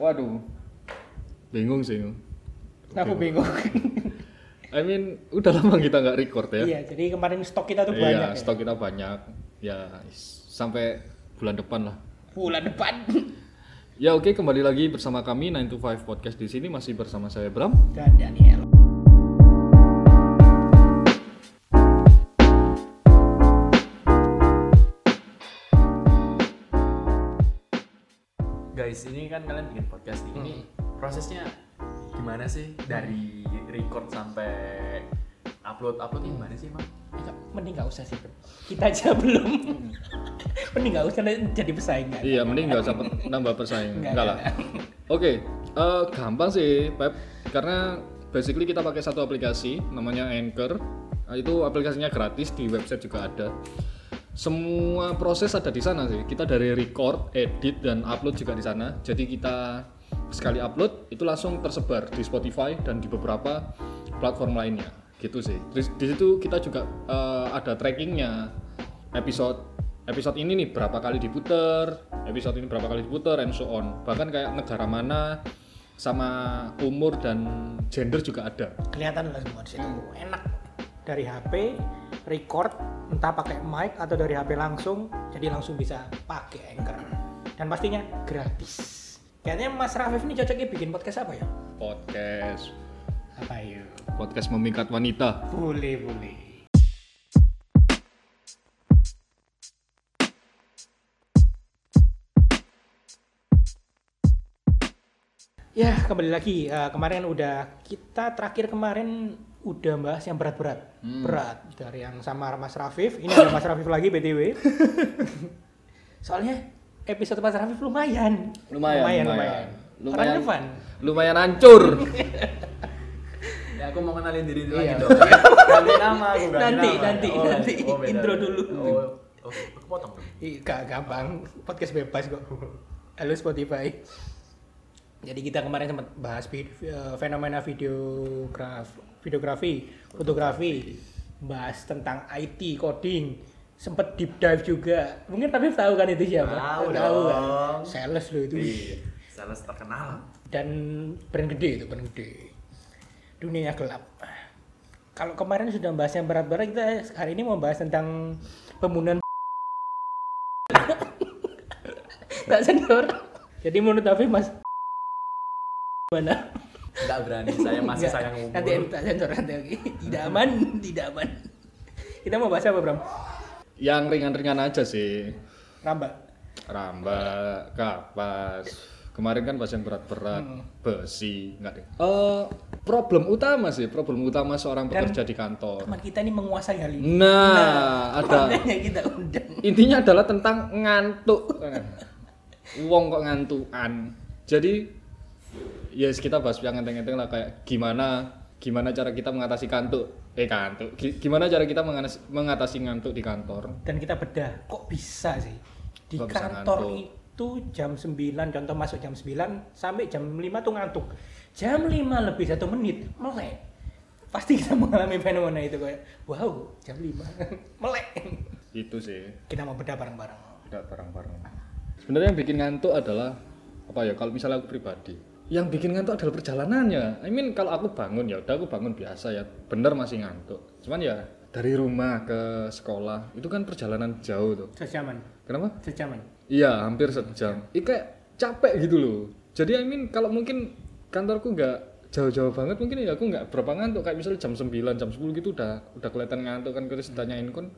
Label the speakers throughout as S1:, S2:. S1: Waduh,
S2: Bingung sih. Bingung.
S1: aku bingung.
S2: I mean, udah lama kita nggak record ya.
S3: Iya, jadi kemarin stok kita tuh
S2: Iya,
S3: banyak. ya.
S2: stok kita banyak. Ya, is- sampai bulan depan lah.
S1: Bulan depan.
S2: Ya oke, kembali lagi bersama kami 9 to 5 Podcast di sini masih bersama saya Bram.
S3: Dan Daniel.
S4: guys ini kan kalian bikin podcast nih. ini
S3: Hmm.
S4: prosesnya gimana sih dari record sampai upload upload ini gimana sih Bang?
S3: Enggak, Mending nggak usah sih, Bro. Kita aja belum. Mending nggak usah jadi pesaing.
S2: Iya, mending nggak usah pe- nambah persaingan.
S3: Nggak,
S2: Enggak lah.
S3: nggak,
S2: Oke, eh, gampang sih, Pep. Karena basically kita pakai satu aplikasi namanya Anchor. Nah, Itu aplikasinya gratis di website juga ada. Semua proses ada di sana sih. Kita dari record, edit dan upload juga di sana. Jadi kita sekali upload itu langsung tersebar di Spotify dan di beberapa platform lainnya. Gitu sih. Terus di situ kita juga eh, ada trackingnya episode episode ini nih berapa kali diputer, episode ini berapa kali diputer, and so on. Bahkan kayak negara mana sama umur dan gender juga ada.
S3: Kelihatan lah semua di situ. Enak. Dari HP, record, entah pakai mic atau dari HP langsung, jadi langsung bisa pakai Anchor. Dan pastinya gratis. Kayaknya Mas Rafif ini cocoknya bikin podcast apa ya?
S2: Podcast,
S3: Apa ya? yuk?
S2: podcast memikat wanita.
S3: Boleh, boleh. Ya, kembali lagi. Eh, kemarin udah kita terakhir kemarin udah bahas yang berat-berat. Berat dari yang sama Mas Rafif. Ini ada Mas Rafif lagi BTW. Soalnya episode Mas Rafif lumayan.
S2: Lumayan,
S3: lumayan.
S2: lumayan.
S3: lumayan.
S2: Lumayan.
S3: Relevan.
S2: Lumayan hancur.
S4: ya aku mau kenalin diri dulu
S3: Iya.
S4: lagi dong ganti nama aku ganti
S3: Nanti,
S4: nama.
S3: nanti, nanti.
S4: beda.
S3: Intro dulu.
S4: oh, oh, aku potong dong
S3: Ih, Gak gampang, podcast bebas kok. Halo Spotify. Jadi kita kemarin sempat bahas vid- eh, fenomena videograf, videografi, fotografi, bahas tentang IT, coding, sempat deep dive juga. Mungkin Rafif tahu kan itu siapa?
S4: Tahu
S3: kan?
S4: dong.
S3: Sales lo itu.
S4: iya sales terkenal
S3: Dan brand gede itu, brand gede. Dunia gelap. Kalau kemarin sudah bahas yang berat-berat, kita hari ini mau bahas tentang pembunuhan tak sensor. Jadi menurut Afif mas mana?
S4: nggak berani saya masih
S3: Nggak,
S4: sayang
S3: Nanti
S4: umur
S3: tak sensor nanti oke. Tidak aman, tidak aman. Kita mau bahas apa Bram?
S2: yang ringan-ringan aja sih.
S3: Ramba.
S2: Rambak, kapas. Kemarin kan pasien berat-berat, besi, enggak deh. Hmm. Eh, problem utama sih, problem utama seorang
S3: Dan-
S2: pekerja di kantor.
S3: Teman kita ini menguasai hal ini.
S2: Nah, ada
S3: Makanya kita undang.
S2: intinya adalah tentang ngantuk wong kok ngantukan jadi ya yes, kita bahas yang enteng-enteng lah kayak gimana gimana cara kita mengatasi kantuk eh kantuk Gi- gimana cara kita mengatasi, mengatasi ngantuk di kantor
S3: Dan kita bedah. Kok bisa sih? Di
S2: Kok bisa
S3: kantor
S2: ngantuk?
S3: itu jam 9, contoh masuk jam 9 sampai jam 5 tuh ngantuk. Jam 5 lebih satu menit melek. Pasti kita mengalami fenomena itu kayak wow, jam 5 melek.
S2: itu sih
S3: kita mau bedah bareng-bareng.
S2: tidak bareng-bareng sebenarnya yang bikin ngantuk adalah apa ya kalau misalnya aku pribadi yang bikin ngantuk adalah perjalanannya I mean kalau aku bangun ya udah aku bangun biasa ya bener masih ngantuk cuman ya dari rumah ke sekolah itu kan perjalanan jauh tuh
S3: Sejaman,
S2: kenapa
S3: sejaman.
S2: Iya, hampir sejam. Ini kayak capek gitu loh. Jadi I mean kalau mungkin kantorku nggak jauh-jauh banget mungkin ya aku nggak berapa ngantuk kayak misalnya jam 9, jam 10 gitu udah udah kelihatan ngantuk kan terus ditanyain kon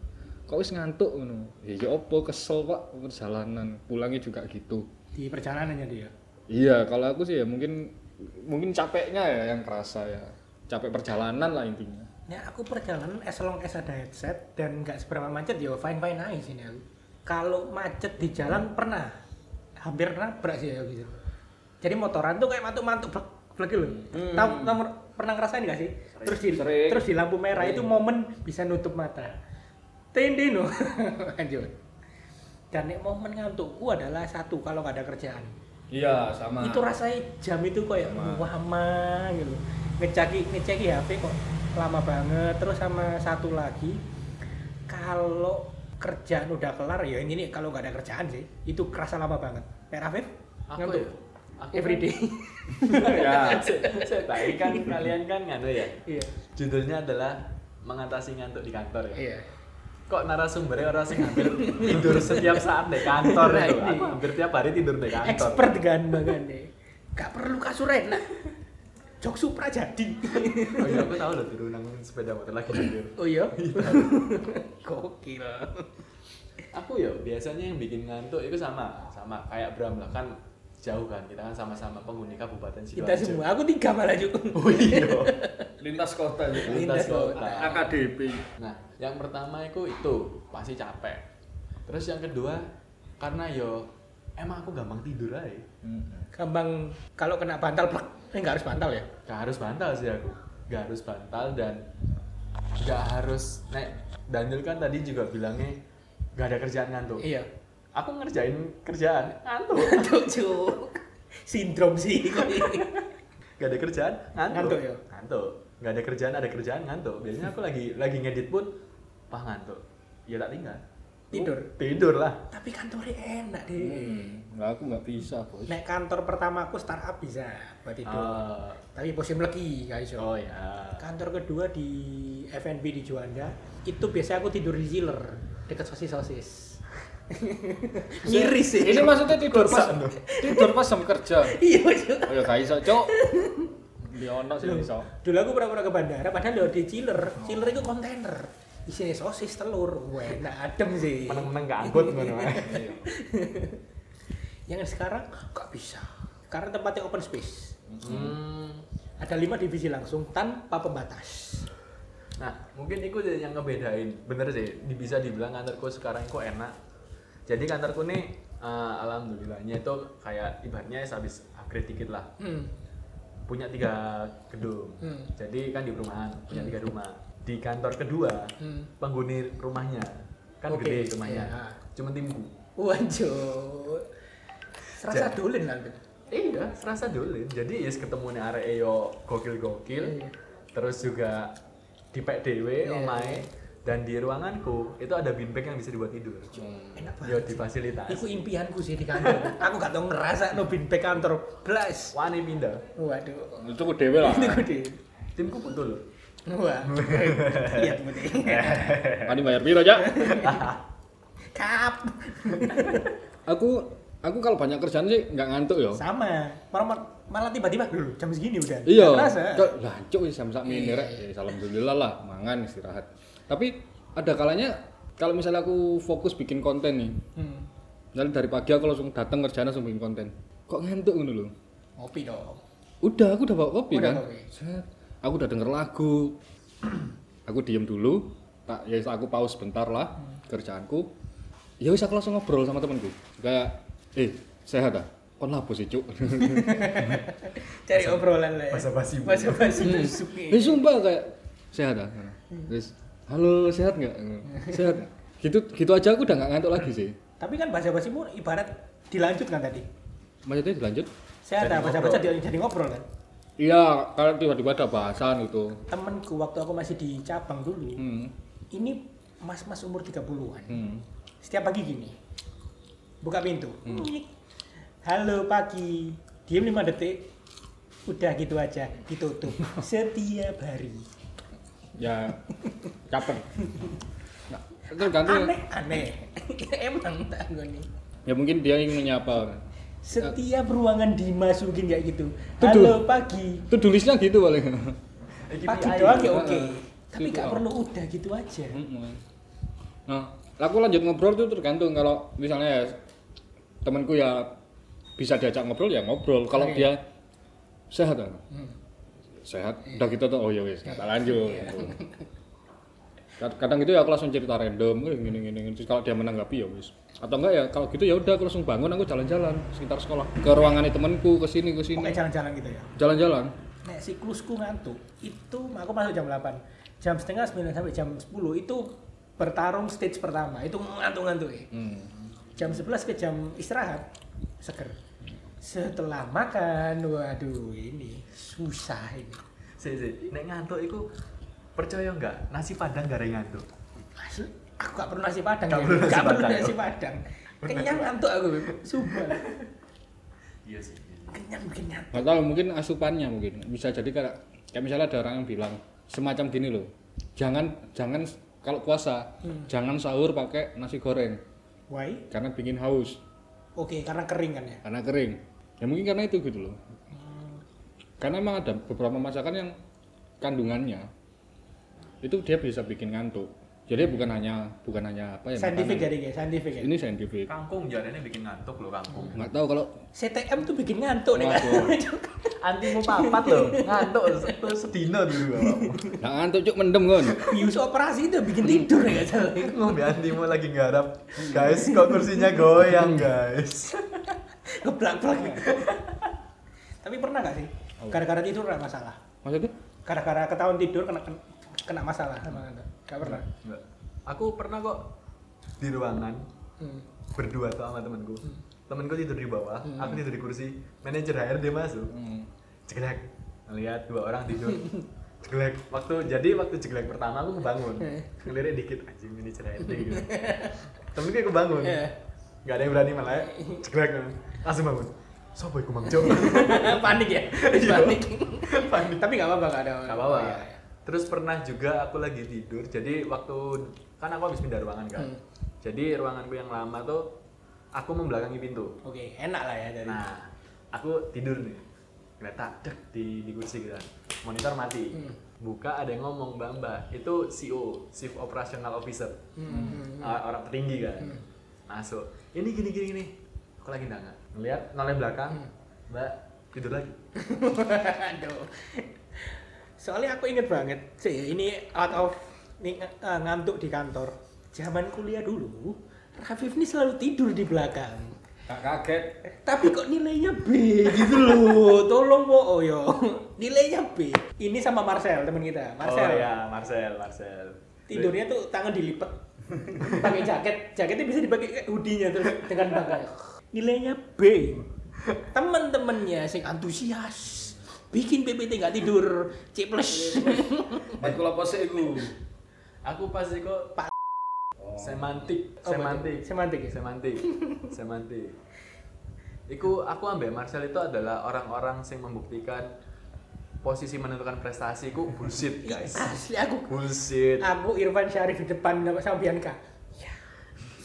S2: kok wis ngantuk ngono. Ya ya opo kesel Pak perjalanan, pulangnya juga gitu.
S3: Di perjalanannya dia.
S2: Iya, kalau aku sih ya mungkin mungkin capeknya ya yang kerasa ya. Capek perjalanan lah intinya.
S3: Nah, aku perjalanan as long as ada headset dan nggak seberapa macet ya fine fine aja sini aku. Kalau macet di jalan pernah, hampir nabrak sih aku gitu. Jadi motoran tuh kayak mantuk-mantuk blek blek gitu loh. Tahu tahu pernah ngerasain nggak sih? Terus di
S2: Hmm. Sering.
S3: terus di lampu merah itu momen bisa nutup mata. Tendino. Lanjut. Dan nek momen ngantukku adalah satu kalau nggak ada kerjaan.
S2: Iya, sama.
S3: itu rasanya jam itu kayak lama gitu ngeceki ngeceki HP kok lama banget terus sama satu lagi kalau kerjaan udah kelar ya kan- ini nih kalau nggak ada kerjaan sih itu kerasa lama banget Pak Rafif
S4: aku
S3: ngantuk
S4: ya Aku
S3: every day.
S4: ya, saya tahu kan kalian kan nganu ya.
S3: Iya.
S4: Judulnya adalah mengatasi ngantuk di kantor ya.
S3: Iya.
S4: Kok narasumbernya orang sih hampir tidur setiap saat di kantor
S3: Nah,
S4: itu.
S3: ini.
S4: Aku hampir tiap hari tidur di kantor.
S3: Expert kan makanya. Gak perlu kasur enak. Jok supra jadi.
S4: Oh iya, aku tahu loh tidur nang sepeda motor lagi tidur.
S3: Oh iya. Gokil.
S4: Aku ya biasanya yang bikin ngantuk itu sama, sama kayak Bram lah kan jauh kan kita kan sama-sama penghuni kabupaten
S3: Kita
S4: Sidoarjo.
S3: semua, aku tiga malah juga.
S4: Oh iya.
S2: lintas kota ya. juga.
S4: Lintas
S3: Lintas kota.
S4: kota.
S2: AKDP.
S4: Nah, yang pertama itu itu pasti capek. Terus yang kedua karena yo emang aku gampang tidur aja.
S2: Hmm.
S3: Gampang kalau kena bantal, plek. eh nggak harus bantal ya.
S4: Gak harus bantal sih aku. Gak harus bantal dan gak harus nek Daniel kan tadi juga bilangnya gak ada kerjaan ngantuk.
S3: Iya.
S4: Aku ngerjain kerjaan ngantuk.
S3: Ngantuk cuk. Sindrom sih.
S4: Gak ada kerjaan ngantuk.
S3: Ngantuk ya?
S4: Ngantuk. Gak ada kerjaan ada kerjaan ngantuk. Biasanya aku lagi lagi ngedit pun pah ngantuk. Ya tak tinggal.
S3: Tidur. Hmm.
S4: Tidur lah.
S3: Tapi kantornya enak deh.
S2: Nah, aku nggak bisa, Bos.
S3: Nek kantor pertamaku startup bisa buat tidur.
S4: Ah,
S3: Tapi bosim lagi guys.
S4: oh ya.
S3: Kantor kedua di F&B di Juanda itu biasanya aku tidur di chiller dekat sosis sosis. Miris sih.
S2: Ini maksudnya tidur pas
S4: Kosan, loh.
S2: tidur pas jam kerja.
S3: Iya Cuk.
S2: Oh ya gak iso, Cuk. Di ono sih iso.
S3: Dulu aku pernah pernah ke bandara, padahal lho di chiller. Chiller itu kontainer. Isinya sosis, telur, Wah, enak adem sih.
S4: meneng-meneng gak angkut ngono ae.
S2: Iya.
S3: Yang sekarang nggak bisa. Karena tempatnya open space.
S4: Hmm.
S3: Ada lima divisi langsung tanpa pembatas.
S4: Nah, mungkin itu yang ngebedain. Bener sih, di- bisa dibilang kantorku sekarang kok enak. Jadi kantorku nih eh, alhamdulillahnya itu kayak ibaratnya ya habis upgrade dikit lah.
S3: Hmm.
S4: Punya tiga gedung.
S3: Hmm.
S4: Jadi kan di perumahan punya tiga rumah. Di kantor kedua
S3: Hmm.
S4: penghuni rumahnya kan
S3: Oke,
S4: gede rumahnya.
S3: iya.
S4: Cuma timku.
S3: Waduh. Serasa
S4: Ja-
S3: dolen nanti.
S4: Iya, serasa dolin. Jadi yes ketemunya arek yo gokil-gokil.
S3: Iya.
S4: Terus juga di pek dewe
S3: Iya.
S4: omahe dan di ruanganku itu ada beanbag yang bisa dibuat tidur.
S3: Enak
S4: Yo
S3: banget. Iku
S4: difasilitasi.
S3: impianku sih di kantor. Aku gak tau ngerasa no binbag kantor. Blas.
S4: Wani pindah.
S3: Waduh.
S2: Itu ku dhewe lah.
S3: Ini gede.
S4: Timku betul loh.
S3: Wah. Iya putih.
S2: Ani bayar piro, Cak?
S3: Kap.
S2: Aku aku kalau banyak kerjaan sih nggak ngantuk ya.
S3: Sama. Malah malah- malah tiba-tiba "Loh, jam segini udah.
S2: Iya.
S3: Gak Iya. Ngerasa.
S2: Ke- Lah, cuk wis jam sak mene rek. Ya, Alhamdulillah lah, mangan istirahat. Tapi ada kalanya kalau misalnya aku fokus bikin konten nih,
S3: Hmm.
S2: misalnya dari pagi aku langsung datang kerjaan langsung bikin konten. Kok ngantuk ngono lho?
S3: Ngopi dong.
S2: Udah, aku udah bawa kopi
S3: Udah
S2: kan.
S3: kopi.
S2: Set. Aku udah denger lagu. aku diem dulu. Tak, ya aku pause bentar lah kerjaanku. Ya wis aku langsung ngobrol sama temanku. Kayak, "Eh, sehat ah? Kon lapo sih, Cuk?"
S3: Cari obrolan lah.
S4: basa-basi.
S3: Basa-basi busuk ya.
S2: Eh
S3: nih.
S2: sumpah kayak sehat ah. Terus halo sehat nggak? Sehat. Gitu gitu aja aku udah nggak ngantuk lagi sih.
S3: Tapi kan basa-basimu ibarat dilanjut kan tadi.
S2: Maksudnya dilanjut?
S3: Saya
S4: Jadi
S3: ada basa-basi
S4: ngobrol.
S3: jadi ngobrol kan.
S2: Iya, kalau tiba-tiba ada bahasan gitu.
S3: Temenku waktu aku masih di cabang dulu.
S2: Hmm.
S3: ini mas-mas umur 30-an.
S2: Hmm.
S3: Setiap pagi gini. Buka pintu.
S2: Hmm.
S3: Nyik. Halo pagi. Diam 5 detik. Udah gitu aja ditutup setiap hari.
S2: Ya capek. Nah, tergantung.
S3: Aneh aneh. Emang tak gua nih.
S2: Ya mungkin dia ingin menyapa.
S3: Setiap ruangan dimasukin kayak gitu.
S2: Tuduh.
S3: Halo pagi.
S2: Itu tulisnya gitu paling.
S4: Iki
S3: Pagi
S4: PI.
S3: doang ya oke.
S2: Heeh.
S3: Tapi
S2: Gitu,
S3: gak
S2: oh.
S3: perlu udah gitu aja.
S2: Mm-mm. Nah, aku lanjut ngobrol tuh tergantung kalau misalnya ya, temanku ya bisa diajak ngobrol ya ngobrol. Kalau
S3: Oke.
S2: dia sehat kan? Sehat. Udah gitu tuh oh ya wis, kata lanjut. gitu. Kad- Kadang gitu ya aku langsung cerita random, "Eh, gini gini gini. Terus kalau dia menanggapi ya wis. Atau enggak ya kalau gitu ya udah aku langsung bangun aku jalan-jalan sekitar sekolah ke ruangannya temanku ke sini ke
S3: Pokoknya
S2: sini.
S3: jalan-jalan gitu ya.
S2: Jalan-jalan.
S3: Nek siklusku ngantuk, itu aku masuk jam 8. Jam setengah 9 sampai jam 10 itu bertarung stage pertama. Itu ngantuk-ngantuk ya.
S2: Hmm.
S3: Jam 11 ke jam istirahat, seger. Setelah makan, waduh ini susah ini.
S4: Si, si. Nek ngantuk iku percaya nggak nasi padang gak ada yang ngantuk.
S3: Asli, aku gak perlu nasi padang
S4: Gak
S3: ya.
S4: perlu nasi
S3: gak perlu
S4: padang,
S3: nasi
S4: yo.
S3: padang. Kenyang ngantuk aku, Beb. sumpah.
S4: Iya sih. kenyang kenyang
S2: Gak tahu mungkin asupannya mungkin bisa jadi kayak kayak misalnya ada orang yang bilang semacam gini loh jangan jangan kalau puasa jangan sahur pakai nasi goreng
S3: Why?
S2: karena bikin haus
S3: Oke, karena kering kan ya.
S2: karena kering ya mungkin karena itu gitu loh karena emang ada beberapa masakan yang kandungannya itu dia bisa bikin ngantuk jadi bukan hanya bukan hanya
S4: Eh,
S2: apa ya
S3: Scientific
S2: makanan.
S3: jadi guys, scientific ya.
S2: ini scientific
S4: kangkung jalannya bikin ngantuk loh kangkung
S2: nggak tahu kalau
S3: CTM tuh bikin ngantuk nih kan.
S4: antimu papat loh ngantuk itu sedina dulu bapakmu
S2: nggak ngantuk cuk mendem kan
S3: Bius operasi itu bikin tidur ya guys.
S4: ngombe antimu lagi nggarap guys kok kursinya goyang guys
S3: Geblak-blak.
S4: Iya.
S3: Tapi pernah gak sih?
S4: Oh.
S3: Gara-gara tidur ada masalah.
S2: maksudnya
S3: Gara-gara ketahuan tidur kena kena masalah
S4: Hmm.
S3: sama ngantuk. Gak pernah.
S4: Enggak. aku pernah kok di ruangan
S3: Hmm.
S4: berdua tuh sama temanku temanku tidur di bawah aku tidur di kursi manajer HRD masuk
S2: Hmm,
S4: ceklek ngeliat dua orang tidur ceklek waktu jadi waktu ceklek pertama aku kebangun
S3: Eh.
S4: ngelirik dikit anjing ini HRD gitu temen gue kebangun
S3: Eh.
S4: nggak ada yang berani malah ceklek langsung bangun sopo iku mang Cok?"
S3: Panik ya.
S4: Iya.
S3: Panik.
S4: Panik.
S3: Tapi gak apa-apa gak ada.
S4: Gak apa-apa.
S3: Iya, iya.
S4: Oh, Terus pernah juga aku lagi tidur, jadi waktu kan aku habis pindah ruangan kan.
S3: Hmm.
S4: Jadi ruanganku yang lama tuh aku membelakangi pintu.
S3: Oke, enak lah ya dari.
S4: Nah, aku tidur nih. Kereta dek di, di kursi gitu. kan. Monitor mati.
S3: Hmm.
S4: Buka ada yang ngomong Mbak Mbak, itu CEO, Chief Operational Officer.
S3: Hmm.
S4: Ah, Orang tertinggi kan. Masuk. Ini gini gini gini. Aku lagi nggak ngeliat noleh belakang.
S3: Hmm.
S4: Mbak tidur lagi.
S3: Aduh. Soalnya aku inget banget sih, ini out of ini, eh, ngantuk di kantor. Zaman kuliah dulu, Rafif ini selalu tidur di belakang.
S2: nggak kaget
S3: Tapi kok nilainya B gitu loh. Tolong po yo. Nilainya B. Ini sama Marcel teman kita. Marcel.
S4: Oh ya, Marcel, Marcel.
S3: Tidurnya tuh tangan dilipet. pakai jaket. Jaketnya bisa dipakai kayak hoodie-nya terus dengan bangga. Nilainya B. Temen-temennya sing antusias bikin PPT nggak tidur, C plus.
S2: buat kalau pose itu
S4: Aku pasti kok
S3: Pak.
S4: semantik,
S3: Oh,
S4: semantik,
S3: betul. Semantik ya?
S4: semantik, semantik. Iku aku ambek Marcel itu adalah orang-orang yang membuktikan posisi menentukan prestasi ku bullshit
S3: Iya.
S4: guys.
S3: Asli aku
S4: Bullshit.
S3: aku Irfan Syarif di depan sama- sama Bianca. Ya.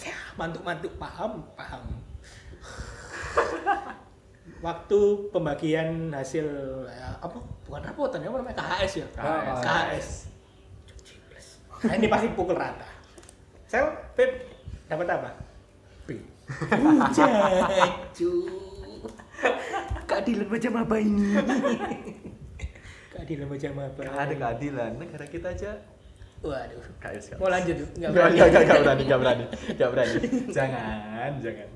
S3: Ya, mantuk-mantuk paham, paham. Waktu pembagian hasil eh, apa? Bukan rapotan ya, apa namanya? KHS ya.
S4: KHS.
S3: KHS. Nah, ini pasti pukul rata. Sel, Pip, dapat apa? B. Ujacu. Keadilan macam apa ini? Keadilan macam apa?
S4: Gak ada keadilan negara kita aja.
S3: Waduh.
S4: Guys, guys.
S3: Mau lanjut? Nggak
S4: Gak
S3: berani.
S4: berani, gak, gak berani, gak berani, gak berani. Jangan, jangan.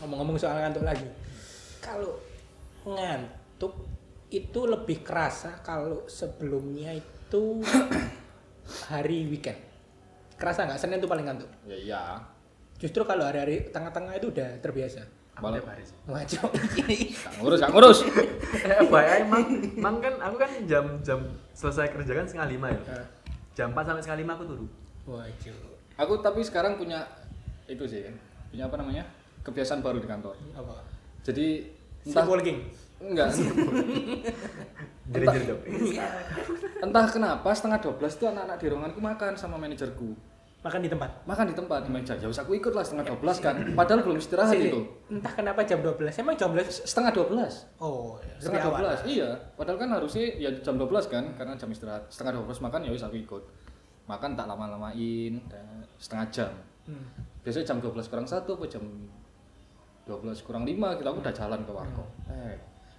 S3: ngomong-ngomong soal ngantuk lagi kalau ngantuk itu lebih kerasa kalau sebelumnya itu hari weekend kerasa nggak senin itu paling ngantuk
S2: ya iya
S3: justru kalau hari-hari tengah-tengah itu udah terbiasa
S4: Aku tiap hari sih.
S3: ngaco ini
S2: nggak ngurus nggak ngurus
S4: Eh, FYI, mang, mang kan aku kan jam jam selesai kerja kan setengah lima ya.
S3: Eh,
S4: Jam 4 sampai setengah lima aku turu.
S3: wajo
S2: aku tapi sekarang punya itu sih punya apa namanya kebiasaan baru di kantor
S3: apa
S2: jadi entah
S3: sleep walking
S2: enggak
S4: Jadi jadi dong.
S2: entah kenapa setengah 12 tuh anak-anak di ruanganku makan sama manajerku
S3: makan di tempat
S2: makan di tempat di meja ya wes aku ikut lah setengah 12 kan padahal belum istirahat
S3: Sini,
S2: itu
S3: entah kenapa jam 12 emang jam 12
S2: setengah 12
S3: oh
S2: setengah
S3: lebih awal.
S2: 12 iya padahal kan harusnya ya jam 12 kan karena jam istirahat setengah 12 makan ya wes aku ikut makan tak lama-lamain dan setengah jam
S3: Hmm.
S2: biasanya jam 12 kurang 1 apa jam 12 kurang 5 kita udah jalan ke warkop
S3: Hmm.
S2: eh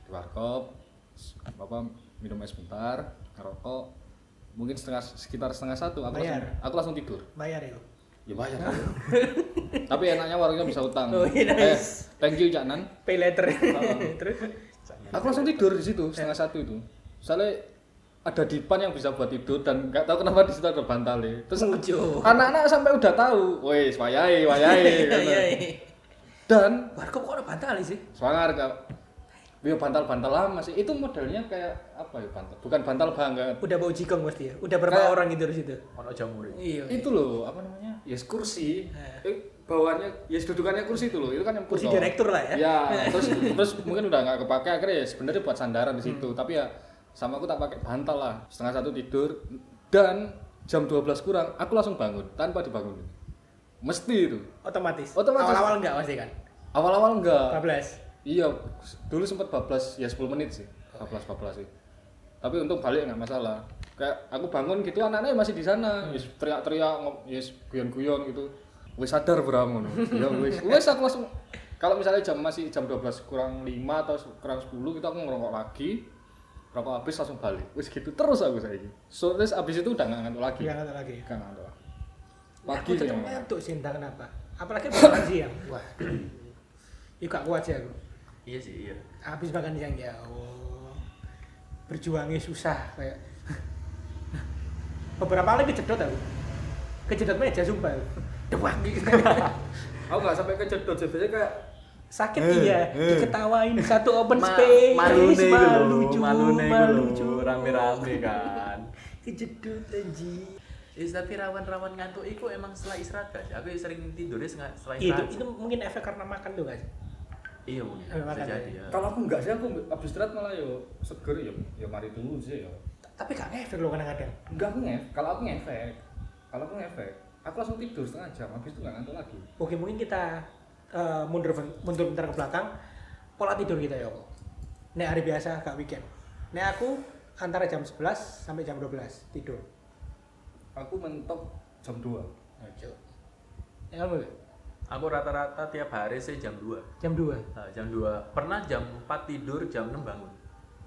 S2: di warkop s- apa minum es bentar ngerokok mungkin setengah sekitar setengah satu aku
S3: Bayar.
S2: langsung, aku langsung tidur
S3: bayar itu
S2: ya bayar tapi enaknya warungnya bisa utang
S3: Oh, iya,
S2: eh,
S3: nice.
S2: thank you cak Nan
S3: pay letter
S2: Oh.
S3: terus
S2: aku langsung tidur di situ setengah satu itu soalnya ada dipan yang bisa buat tidur dan nggak tahu kenapa di situ ada bantalnya terus
S3: Mujo.
S2: anak-anak sampai udah tahu wes wayai wayai
S3: Iya,
S2: gitu.
S3: iya, iya.
S2: dan
S3: warkop kok ada bantal sih
S2: Swangar kak. Ya bantal-bantal lama sih. Itu modelnya kayak apa ya bantal? Bukan bantal banget.
S3: Udah bau jikong pasti ya. Udah berapa
S2: Kayak-
S3: orang gitu di situ?
S4: ono jamure.
S3: Iya.
S2: Itu loh, apa namanya? Yes kursi.
S3: Eh.
S2: Eh, bawaannya yes dudukannya kursi itu loh. Itu kan yang
S3: Kursi
S2: kuno.
S3: direktur lah ya.
S2: Iya, terus terus mungkin udah nggak kepake akhirnya ya sebenarnya buat sandaran di situ.
S3: Hmm.
S2: Tapi ya sama aku tak pakai bantal lah. Setengah satu tidur dan jam 12 kurang aku langsung bangun tanpa dibangun. Mesti itu.
S3: Otomatis.
S2: Otomatis.
S3: Awal-awal enggak pasti kan?
S2: Awal-awal enggak.
S3: 12.
S2: Iya, dulu sempat bablas ya 10 menit sih. Bablas bablas sih. Tapi untung balik nggak masalah. Kayak aku bangun gitu anak-anaknya masih di sana. Yes, teriak-teriak, ngop- yes guyon-guyon gitu. Wes sadar beramun. ya wes. Wes aku langsung kalau misalnya jam masih jam 12 kurang 5 atau kurang 10 gitu aku ngerokok lagi. Rokok habis langsung balik. Wes gitu terus aku saiki. So terus habis itu udah nggak ngantuk lagi.
S3: Enggak ada lagi.
S2: Nggak ngantuk lagi.
S3: Aku
S2: Pagi
S3: tetep
S2: yang
S3: ngantuk sih entah kenapa. Apalagi makan siang. Wah. Yuk gak kuat sih aku.
S4: Iya sih, iya.
S3: Habis makan siang ya. Allah. Berjuangnya susah kayak. Beberapa kali kejedot aku. Kejedot meja sumpah. aku. Dewang gitu.
S2: Aku nggak sampai kejedot sih. Biasanya kayak
S3: Sakit
S4: Eh,
S3: iya,
S4: eh.
S3: diketawain satu open
S4: Ma-
S3: space.
S4: malune iku lho,
S3: malucu,
S4: malune iku lho,
S3: malucu.
S4: rame-rame kan.
S3: Kejedot anjing.
S4: Is Iya, tapi rawan-rawan ngantuk itu emang setelah istirahat guys. Aku sering tidurnya senga- setelah
S3: Iya, itu,
S4: istirahat.
S3: itu mungkin efek karena makan tuh guys.
S4: Iya mungkin.
S3: Eh,
S4: Bisa
S3: makan,
S4: jadi
S3: ya.
S4: ya.
S2: Kalau aku enggak sih aku abis istirahat malah yo seger yo yo mari dulu sih yo.
S3: T- Tapi gak ngefek loh kadang-kadang.
S2: Enggak aku ngef. Kalau aku ngefek, kalau aku ngefek, aku langsung tidur setengah jam habis itu enggak ngantuk lagi.
S3: Oke mungkin kita eh, mundur ben- mundur bentar ke belakang. Pola tidur kita ya kok. Nek hari biasa gak weekend. Nek aku antara jam 11 sampai jam 12 tidur.
S2: Aku mentok jam 2.
S3: Ojo. Nek kamu Wi?
S4: Aku rata-rata tiap hari sih jam 2.
S3: jam 2.
S4: Nah, jam 2. Pernah jam 4 tidur, jam 6 bangun.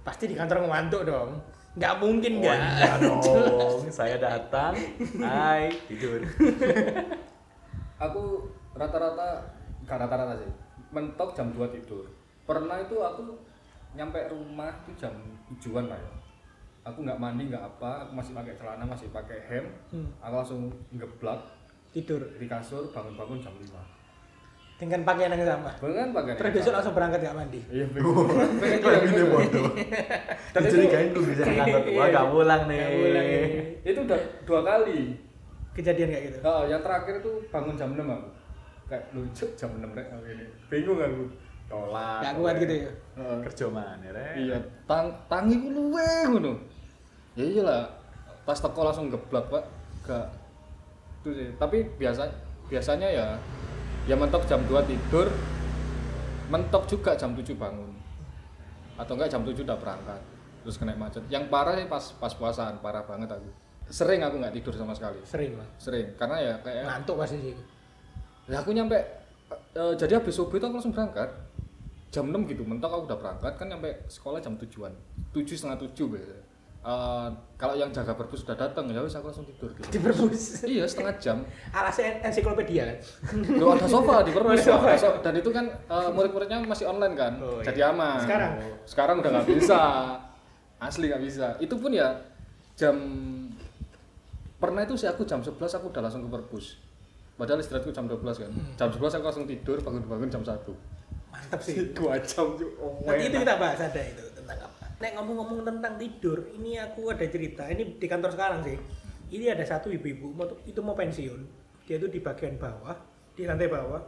S3: Pasti di kantor ngantuk dong. Gak mungkin gak.
S4: iya dong. Saya datang, hai, tidur.
S2: Aku rata-rata enggak rata-rata sih. Mentok jam 2 tidur. Pernah itu aku nyampe rumah itu jam 7-an lah ya. Aku nggak mandi nggak apa, aku masih pakai celana, masih pakai hem.
S3: Hmm.
S2: Aku langsung ngeblak
S3: Tidur
S2: di kasur bangun-bangun jam 5.
S3: dengan pakaian yang sama.
S2: Beneran pakai
S3: Terus besok langsung berangkat gak mandi.
S2: Iya, bingung. Pengen kayak gitu. Dan itu-
S4: Dicurigain gue bisa ke kantor. Wah, gak pulang nih.
S3: Gak Iya. pulang iya. nih.
S2: Itu udah dua kali.
S3: Kejadian kayak gitu.
S2: Oh, yang terakhir tuh bangun jam 6 aku. Kayak lucu jam 6 rek aku ini. Bingung aku. Tolak.
S3: Gak kuat gitu ya.
S2: Heeh.
S4: Kerja mana, Rek?
S2: Iya, tang tangi ku luwe ngono. Ya iyalah. Pas teko langsung geblak, Pak. Gak itu sih. Tapi biasa biasanya ya ya mentok jam 2 tidur. Mentok juga jam 7 bangun. Atau enggak jam 7 udah berangkat. Terus kena macet. Yang parah sih pas pas puasaan, parah banget aku. Sering aku nggak tidur sama sekali.
S3: Sering lah.
S2: Sering, karena ya kayak
S3: Ngantuk pasti sih.
S2: Ya aku nyampe eh, jadi habis subuh itu aku langsung berangkat. Jam 6 gitu, mentok aku udah berangkat kan nyampe sekolah jam 7-an. 7 setengah 7 biasanya. Eh, kalau yang jaga berbus sudah datang ya wes aku langsung tidur gitu.
S3: Di berbus.
S2: iya, setengah jam.
S3: Alasnya en- ensiklopedia kan.
S2: Loh, ada sofa di perpus.
S3: Ada sofa.
S2: Ada sofa. Dan itu kan eh, murid-muridnya masih online kan.
S3: Oh,
S2: jadi aman.
S3: Sekarang?
S2: Sekarang udah nggak bisa. Asli nggak bisa. Itu pun ya jam pernah itu sih aku jam 11 aku udah langsung ke perpus. Padahal istirahatku jam 12 kan. Jam 11 aku langsung tidur, bangun-bangun jam 1.
S3: Mantap sih.
S2: Dua jam tuh. oh,
S3: Nanti itu
S2: enak.
S3: kita bahas ada itu tentang apa. Nek ngomong-ngomong tentang tidur, ini aku ada cerita. Ini di kantor sekarang sih. Ini ada satu ibu-ibu mau itu mau pensiun. Dia tuh di bagian bawah, di lantai bawah.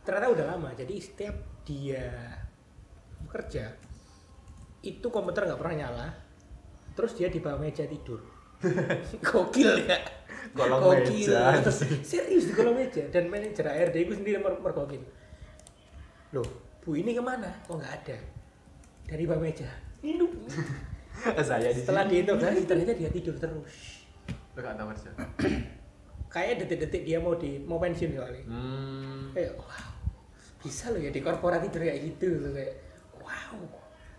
S3: Ternyata udah lama. Jadi setiap dia kerja itu komputer nggak pernah nyala. Terus dia di bawah meja tidur. Gokil ya.
S4: Kolong meja.
S3: Terus serius di kolong meja dan manajer HRD itu sendiri mer- mergokin loh bu ini kemana kok nggak ada dari bawah meja hidup
S4: Saya di
S3: Iya. setelah
S4: sini.
S3: diinterogasi ternyata dia tidur terus
S4: Lo gak tau kerja.
S3: kayak detik-detik dia mau di mau pensiun kali
S4: Hmm.
S3: kayak wow bisa loh ya di korporat tidur kayak gitu loh kayak wow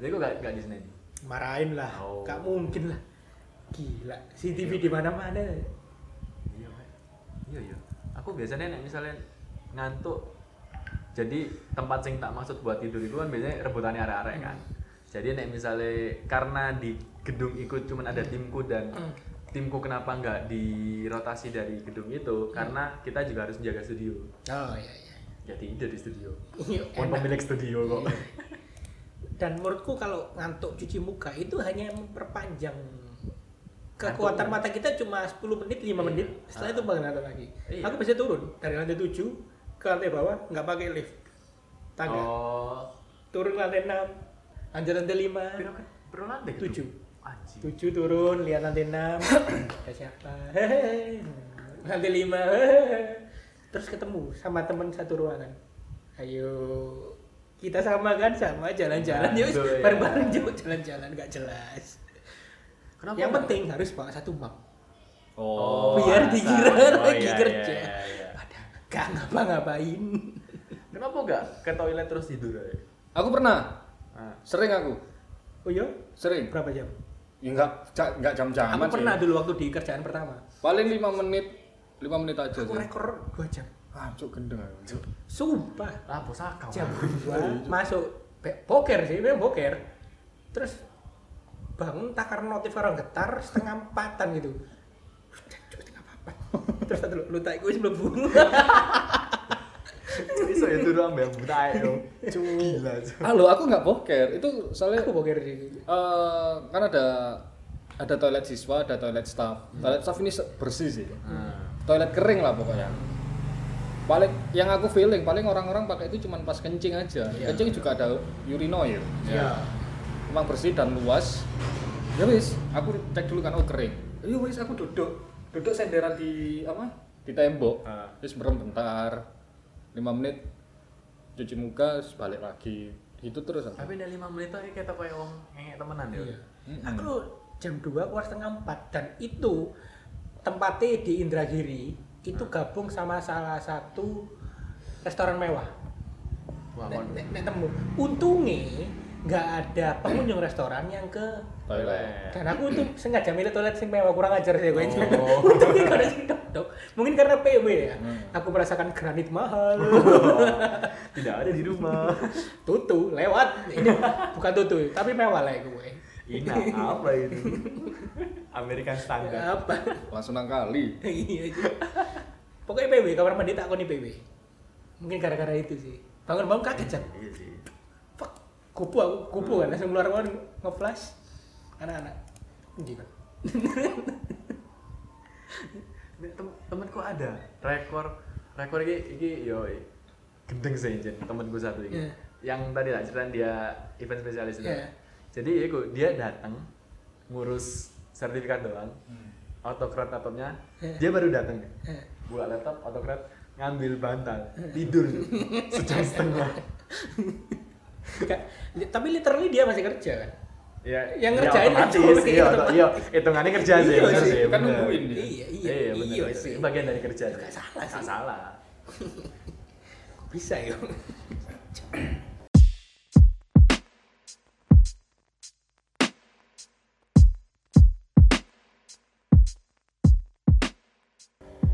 S4: Jadi gue gak, gak di sini.
S3: marahin lah
S4: Oh.
S3: gak mungkin lah gila CCTV di mana-mana
S4: Iya, Pak. Iya, iya. Aku biasanya nek misalnya ngantuk. Jadi tempat sing tak maksud buat tidur itu kan biasanya rebutannya arek-arek
S3: Hmm.
S4: kan. Jadi nek misalnya karena di gedung ikut cuman ada timku dan
S3: Hmm.
S4: timku kenapa nggak dirotasi dari gedung itu
S3: Hmm.
S4: karena kita juga harus menjaga studio.
S3: oh iya iya
S4: Jadi ide di studio.
S3: Iya,
S4: Pun
S3: enak. Iya,
S4: pemilik studio kok.
S3: dan menurutku kalau ngantuk cuci muka itu hanya memperpanjang kekuatan mata kita cuma 10 menit 5 menit setelah itu bakal ngantuk lagi
S4: Iya.
S3: aku bisa turun dari lantai 7 ke lantai bawah nggak pakai lift tangga
S4: Oh.
S3: turun lantai 6 lanjut lantai
S4: Piro piro lantai?
S3: 5
S4: Tujuh.
S3: 7
S4: Anjing.
S3: 7 turun lihat lantai 6 ada siapa hehehe lantai 5 hehehe terus ketemu sama teman satu ruangan ayo kita sama kan sama jalan-jalan yuk
S4: Aduh, ya.
S3: bareng-bareng yuk jalan-jalan gak jelas
S4: Kenapa?
S3: yang penting harus bawa satu map
S4: Oh,
S3: biar
S4: asal.
S3: dikira
S4: Oh,
S3: lagi
S4: iya,
S3: kerja
S4: iya, iya.
S3: padahal gak ngapa-ngapain
S4: Kenapa enggak ke toilet terus tidur aja?
S2: Aku pernah,
S4: Ah.
S2: sering aku,
S3: oh iya?
S2: sering.
S3: berapa jam?
S2: Ya enggak ca- enggak jam-jaman
S3: aku
S2: sih.
S3: pernah dulu waktu di kerjaan pertama
S2: Paling 5 menit, 5 menit aja
S3: aku
S2: sih.
S3: rekor 2 jam
S2: Ah, cuk gendeng aku, cuk.
S3: sumpah
S4: Ah, bos akal.
S3: jam 2 masuk Be- boker sih memang boker terus bangun tak karena notif orang getar setengah empatan gitu Cuk, setengah empat terus satu lu tak gue sebelum buru
S4: Iso ya turu ambek buta ae, yo. Gila. Cuk.
S2: Halo, aku nggak boker. Itu soalnya
S3: aku boker sih
S2: eh, kan ada ada toilet siswa, ada toilet staff. Toilet staff ini se- Hmm. bersih sih. Toilet kering lah pokoknya. Paling yang aku feeling paling orang-orang pakai itu cuman pas kencing aja.
S3: Iya.
S2: Kencing juga ada urinoir.
S4: Ya.
S2: Emang bersih dan luas. Ya wis, aku cek dulu kan oh kering. Ya wis aku duduk, duduk senderan di apa? Di tembok.
S4: Ah.
S2: Terus merem bentar. 5 menit cuci muka, terus balik lagi. Itu terus aku.
S4: Tapi dari 5 menit tuh kita kayak wong ngengek temenan ya.
S3: Iya.
S2: Mm-mm.
S3: aku jam 2 keluar setengah empat dan itu tempatnya di Indragiri itu gabung sama salah satu restoran mewah
S4: Wah,
S3: Nek-
S4: kon
S3: nek- nek temu untungnya nggak ada pengunjung restoran yang ke
S2: Toilet.
S4: toilet.
S3: Dan aku tuh sengaja milih toilet sing mewah kurang ajar sih gue.
S4: Oh.
S3: Untungnya gak ada sing dok-dok. Mungkin karena PW ya.
S2: Hmm.
S3: Aku merasakan granit mahal.
S4: Tidak ada di rumah.
S3: tutu lewat. Ini bukan tutu, tapi mewah lah gue.
S4: Ina, apa itu? American standard.
S3: Ya, apa?
S2: langsung nang kali
S3: Iya. sih. Pokoknya PW kamar mandi tak koni PW. Mungkin gara-gara itu sih. Bangun-bangun kaget jam.
S4: Iya sih.
S3: Fuck. Kupu aku, kupu kan langsung keluar keluar ngeflash. Anak-anak. Gimana?
S4: Nek tem temenku ada rekor rekor iki iki yo i- gendeng sih Jen, temenku satu ini.
S3: Iya.
S4: Yang tadi tak ceritain dia event spesialis itu.
S3: Iya.
S4: Jadi iku dia datang ngurus sertifikat doang. Autokrat laptopnya.
S3: Hmm. Iya.
S4: Dia baru datang.
S3: Eh,
S4: Buka laptop autokrat ngambil bantal tidur sejam setengah.
S3: nggak- Tapi literally dia masih kerja kan?
S4: Ya,
S3: Yang
S4: ya
S3: ngerjain
S4: otomatis,
S3: itu.
S4: iya, oto- iya, hitungannya kerja sih,
S3: Iya
S4: bener
S3: sih,
S4: sih,
S2: kan
S4: bener.
S2: nungguin dia
S3: Iya, iya,
S4: bener,
S3: iya,
S4: bener.
S3: sih.
S4: Itu bagian dari kerja.
S3: Nggak salah
S4: Nggak
S3: sih.
S4: salah.
S3: Bisa ya.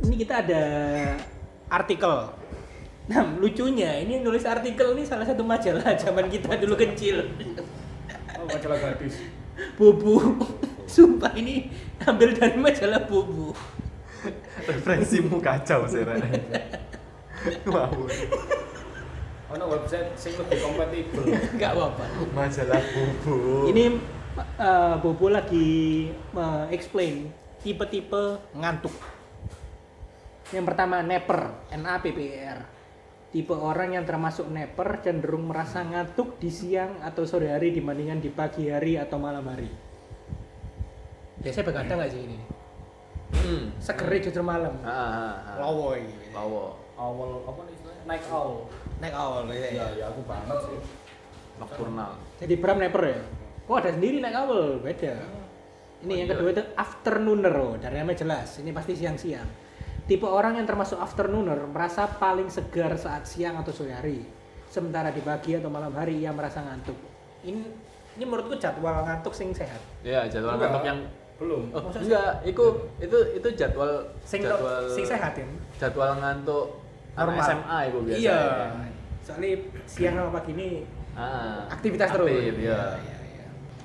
S3: ini kita ada artikel. Nah, lucunya ini nulis artikel ini salah satu majalah zaman kita dulu kecil.
S2: oh majalah gadis
S3: Bubu. Sumpah ini ambil dari majalah Bubu.
S4: referensimu kacau sih Ren wow
S2: ono website sing lebih kompatibel
S3: Enggak apa-apa.
S4: majalah bubu
S3: Ini eh, Bobo lagi eh, explain tipe-tipe ngantuk. Yang pertama neper, N A P P E R. Tipe orang yang termasuk neper cenderung merasa ngantuk di siang atau sore hari dibandingkan di pagi hari atau malam hari. Biasanya begadang nggak sih ini?
S4: hmm.
S3: Segernya justru malam.
S4: Ah, ah, ah.
S3: Lowoi.
S4: lawo
S1: awal apa nih istilahnya naik awal
S3: Naik awal
S2: ya ya aku banget sih
S4: nokturnal
S3: Jadi Bram neper ya? Oh ada sendiri naik awal, beda. Ini
S4: Oh,
S3: yang
S4: iya.
S3: kedua itu afternooner, oh, dari namanya jelas. Ini pasti siang-siang. Tipe orang yang termasuk afternooner merasa paling segar saat siang atau sore hari. Sementara di pagi atau malam hari ia merasa ngantuk. Ini ini menurutku jadwal ngantuk sing sehat.
S4: ya jadwal
S2: Enggak.
S4: ngantuk yang
S2: belum
S4: oh, enggak itu itu itu jadwal
S3: Sing
S4: jadwal
S3: sing sehat ya.
S4: jadwal ngantuk anak
S3: Normal.
S4: SMA itu biasa
S3: Iya.
S4: ya.
S3: Soalnya siang sama pagi ini
S4: Ah,
S3: aktivitas
S4: aktif,
S3: terus.
S4: iya.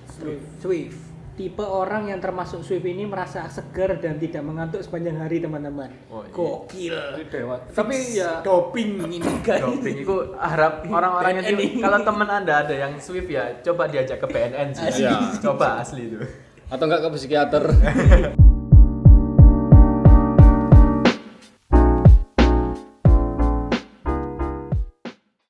S3: Swift. Swift. tipe orang yang termasuk Swift ini merasa segar dan tidak mengantuk sepanjang hari teman-teman.
S4: Oh, iya.
S3: Gokil.
S1: Ini dewa.
S3: Tapi ya doping ini guys.
S4: Doping itu harap orang-orang yang
S3: BNN.
S4: kalau teman anda ada yang Swift ya coba diajak ke BNN sih.
S2: Iya.
S4: Coba asli itu.
S2: atau enggak ke psikiater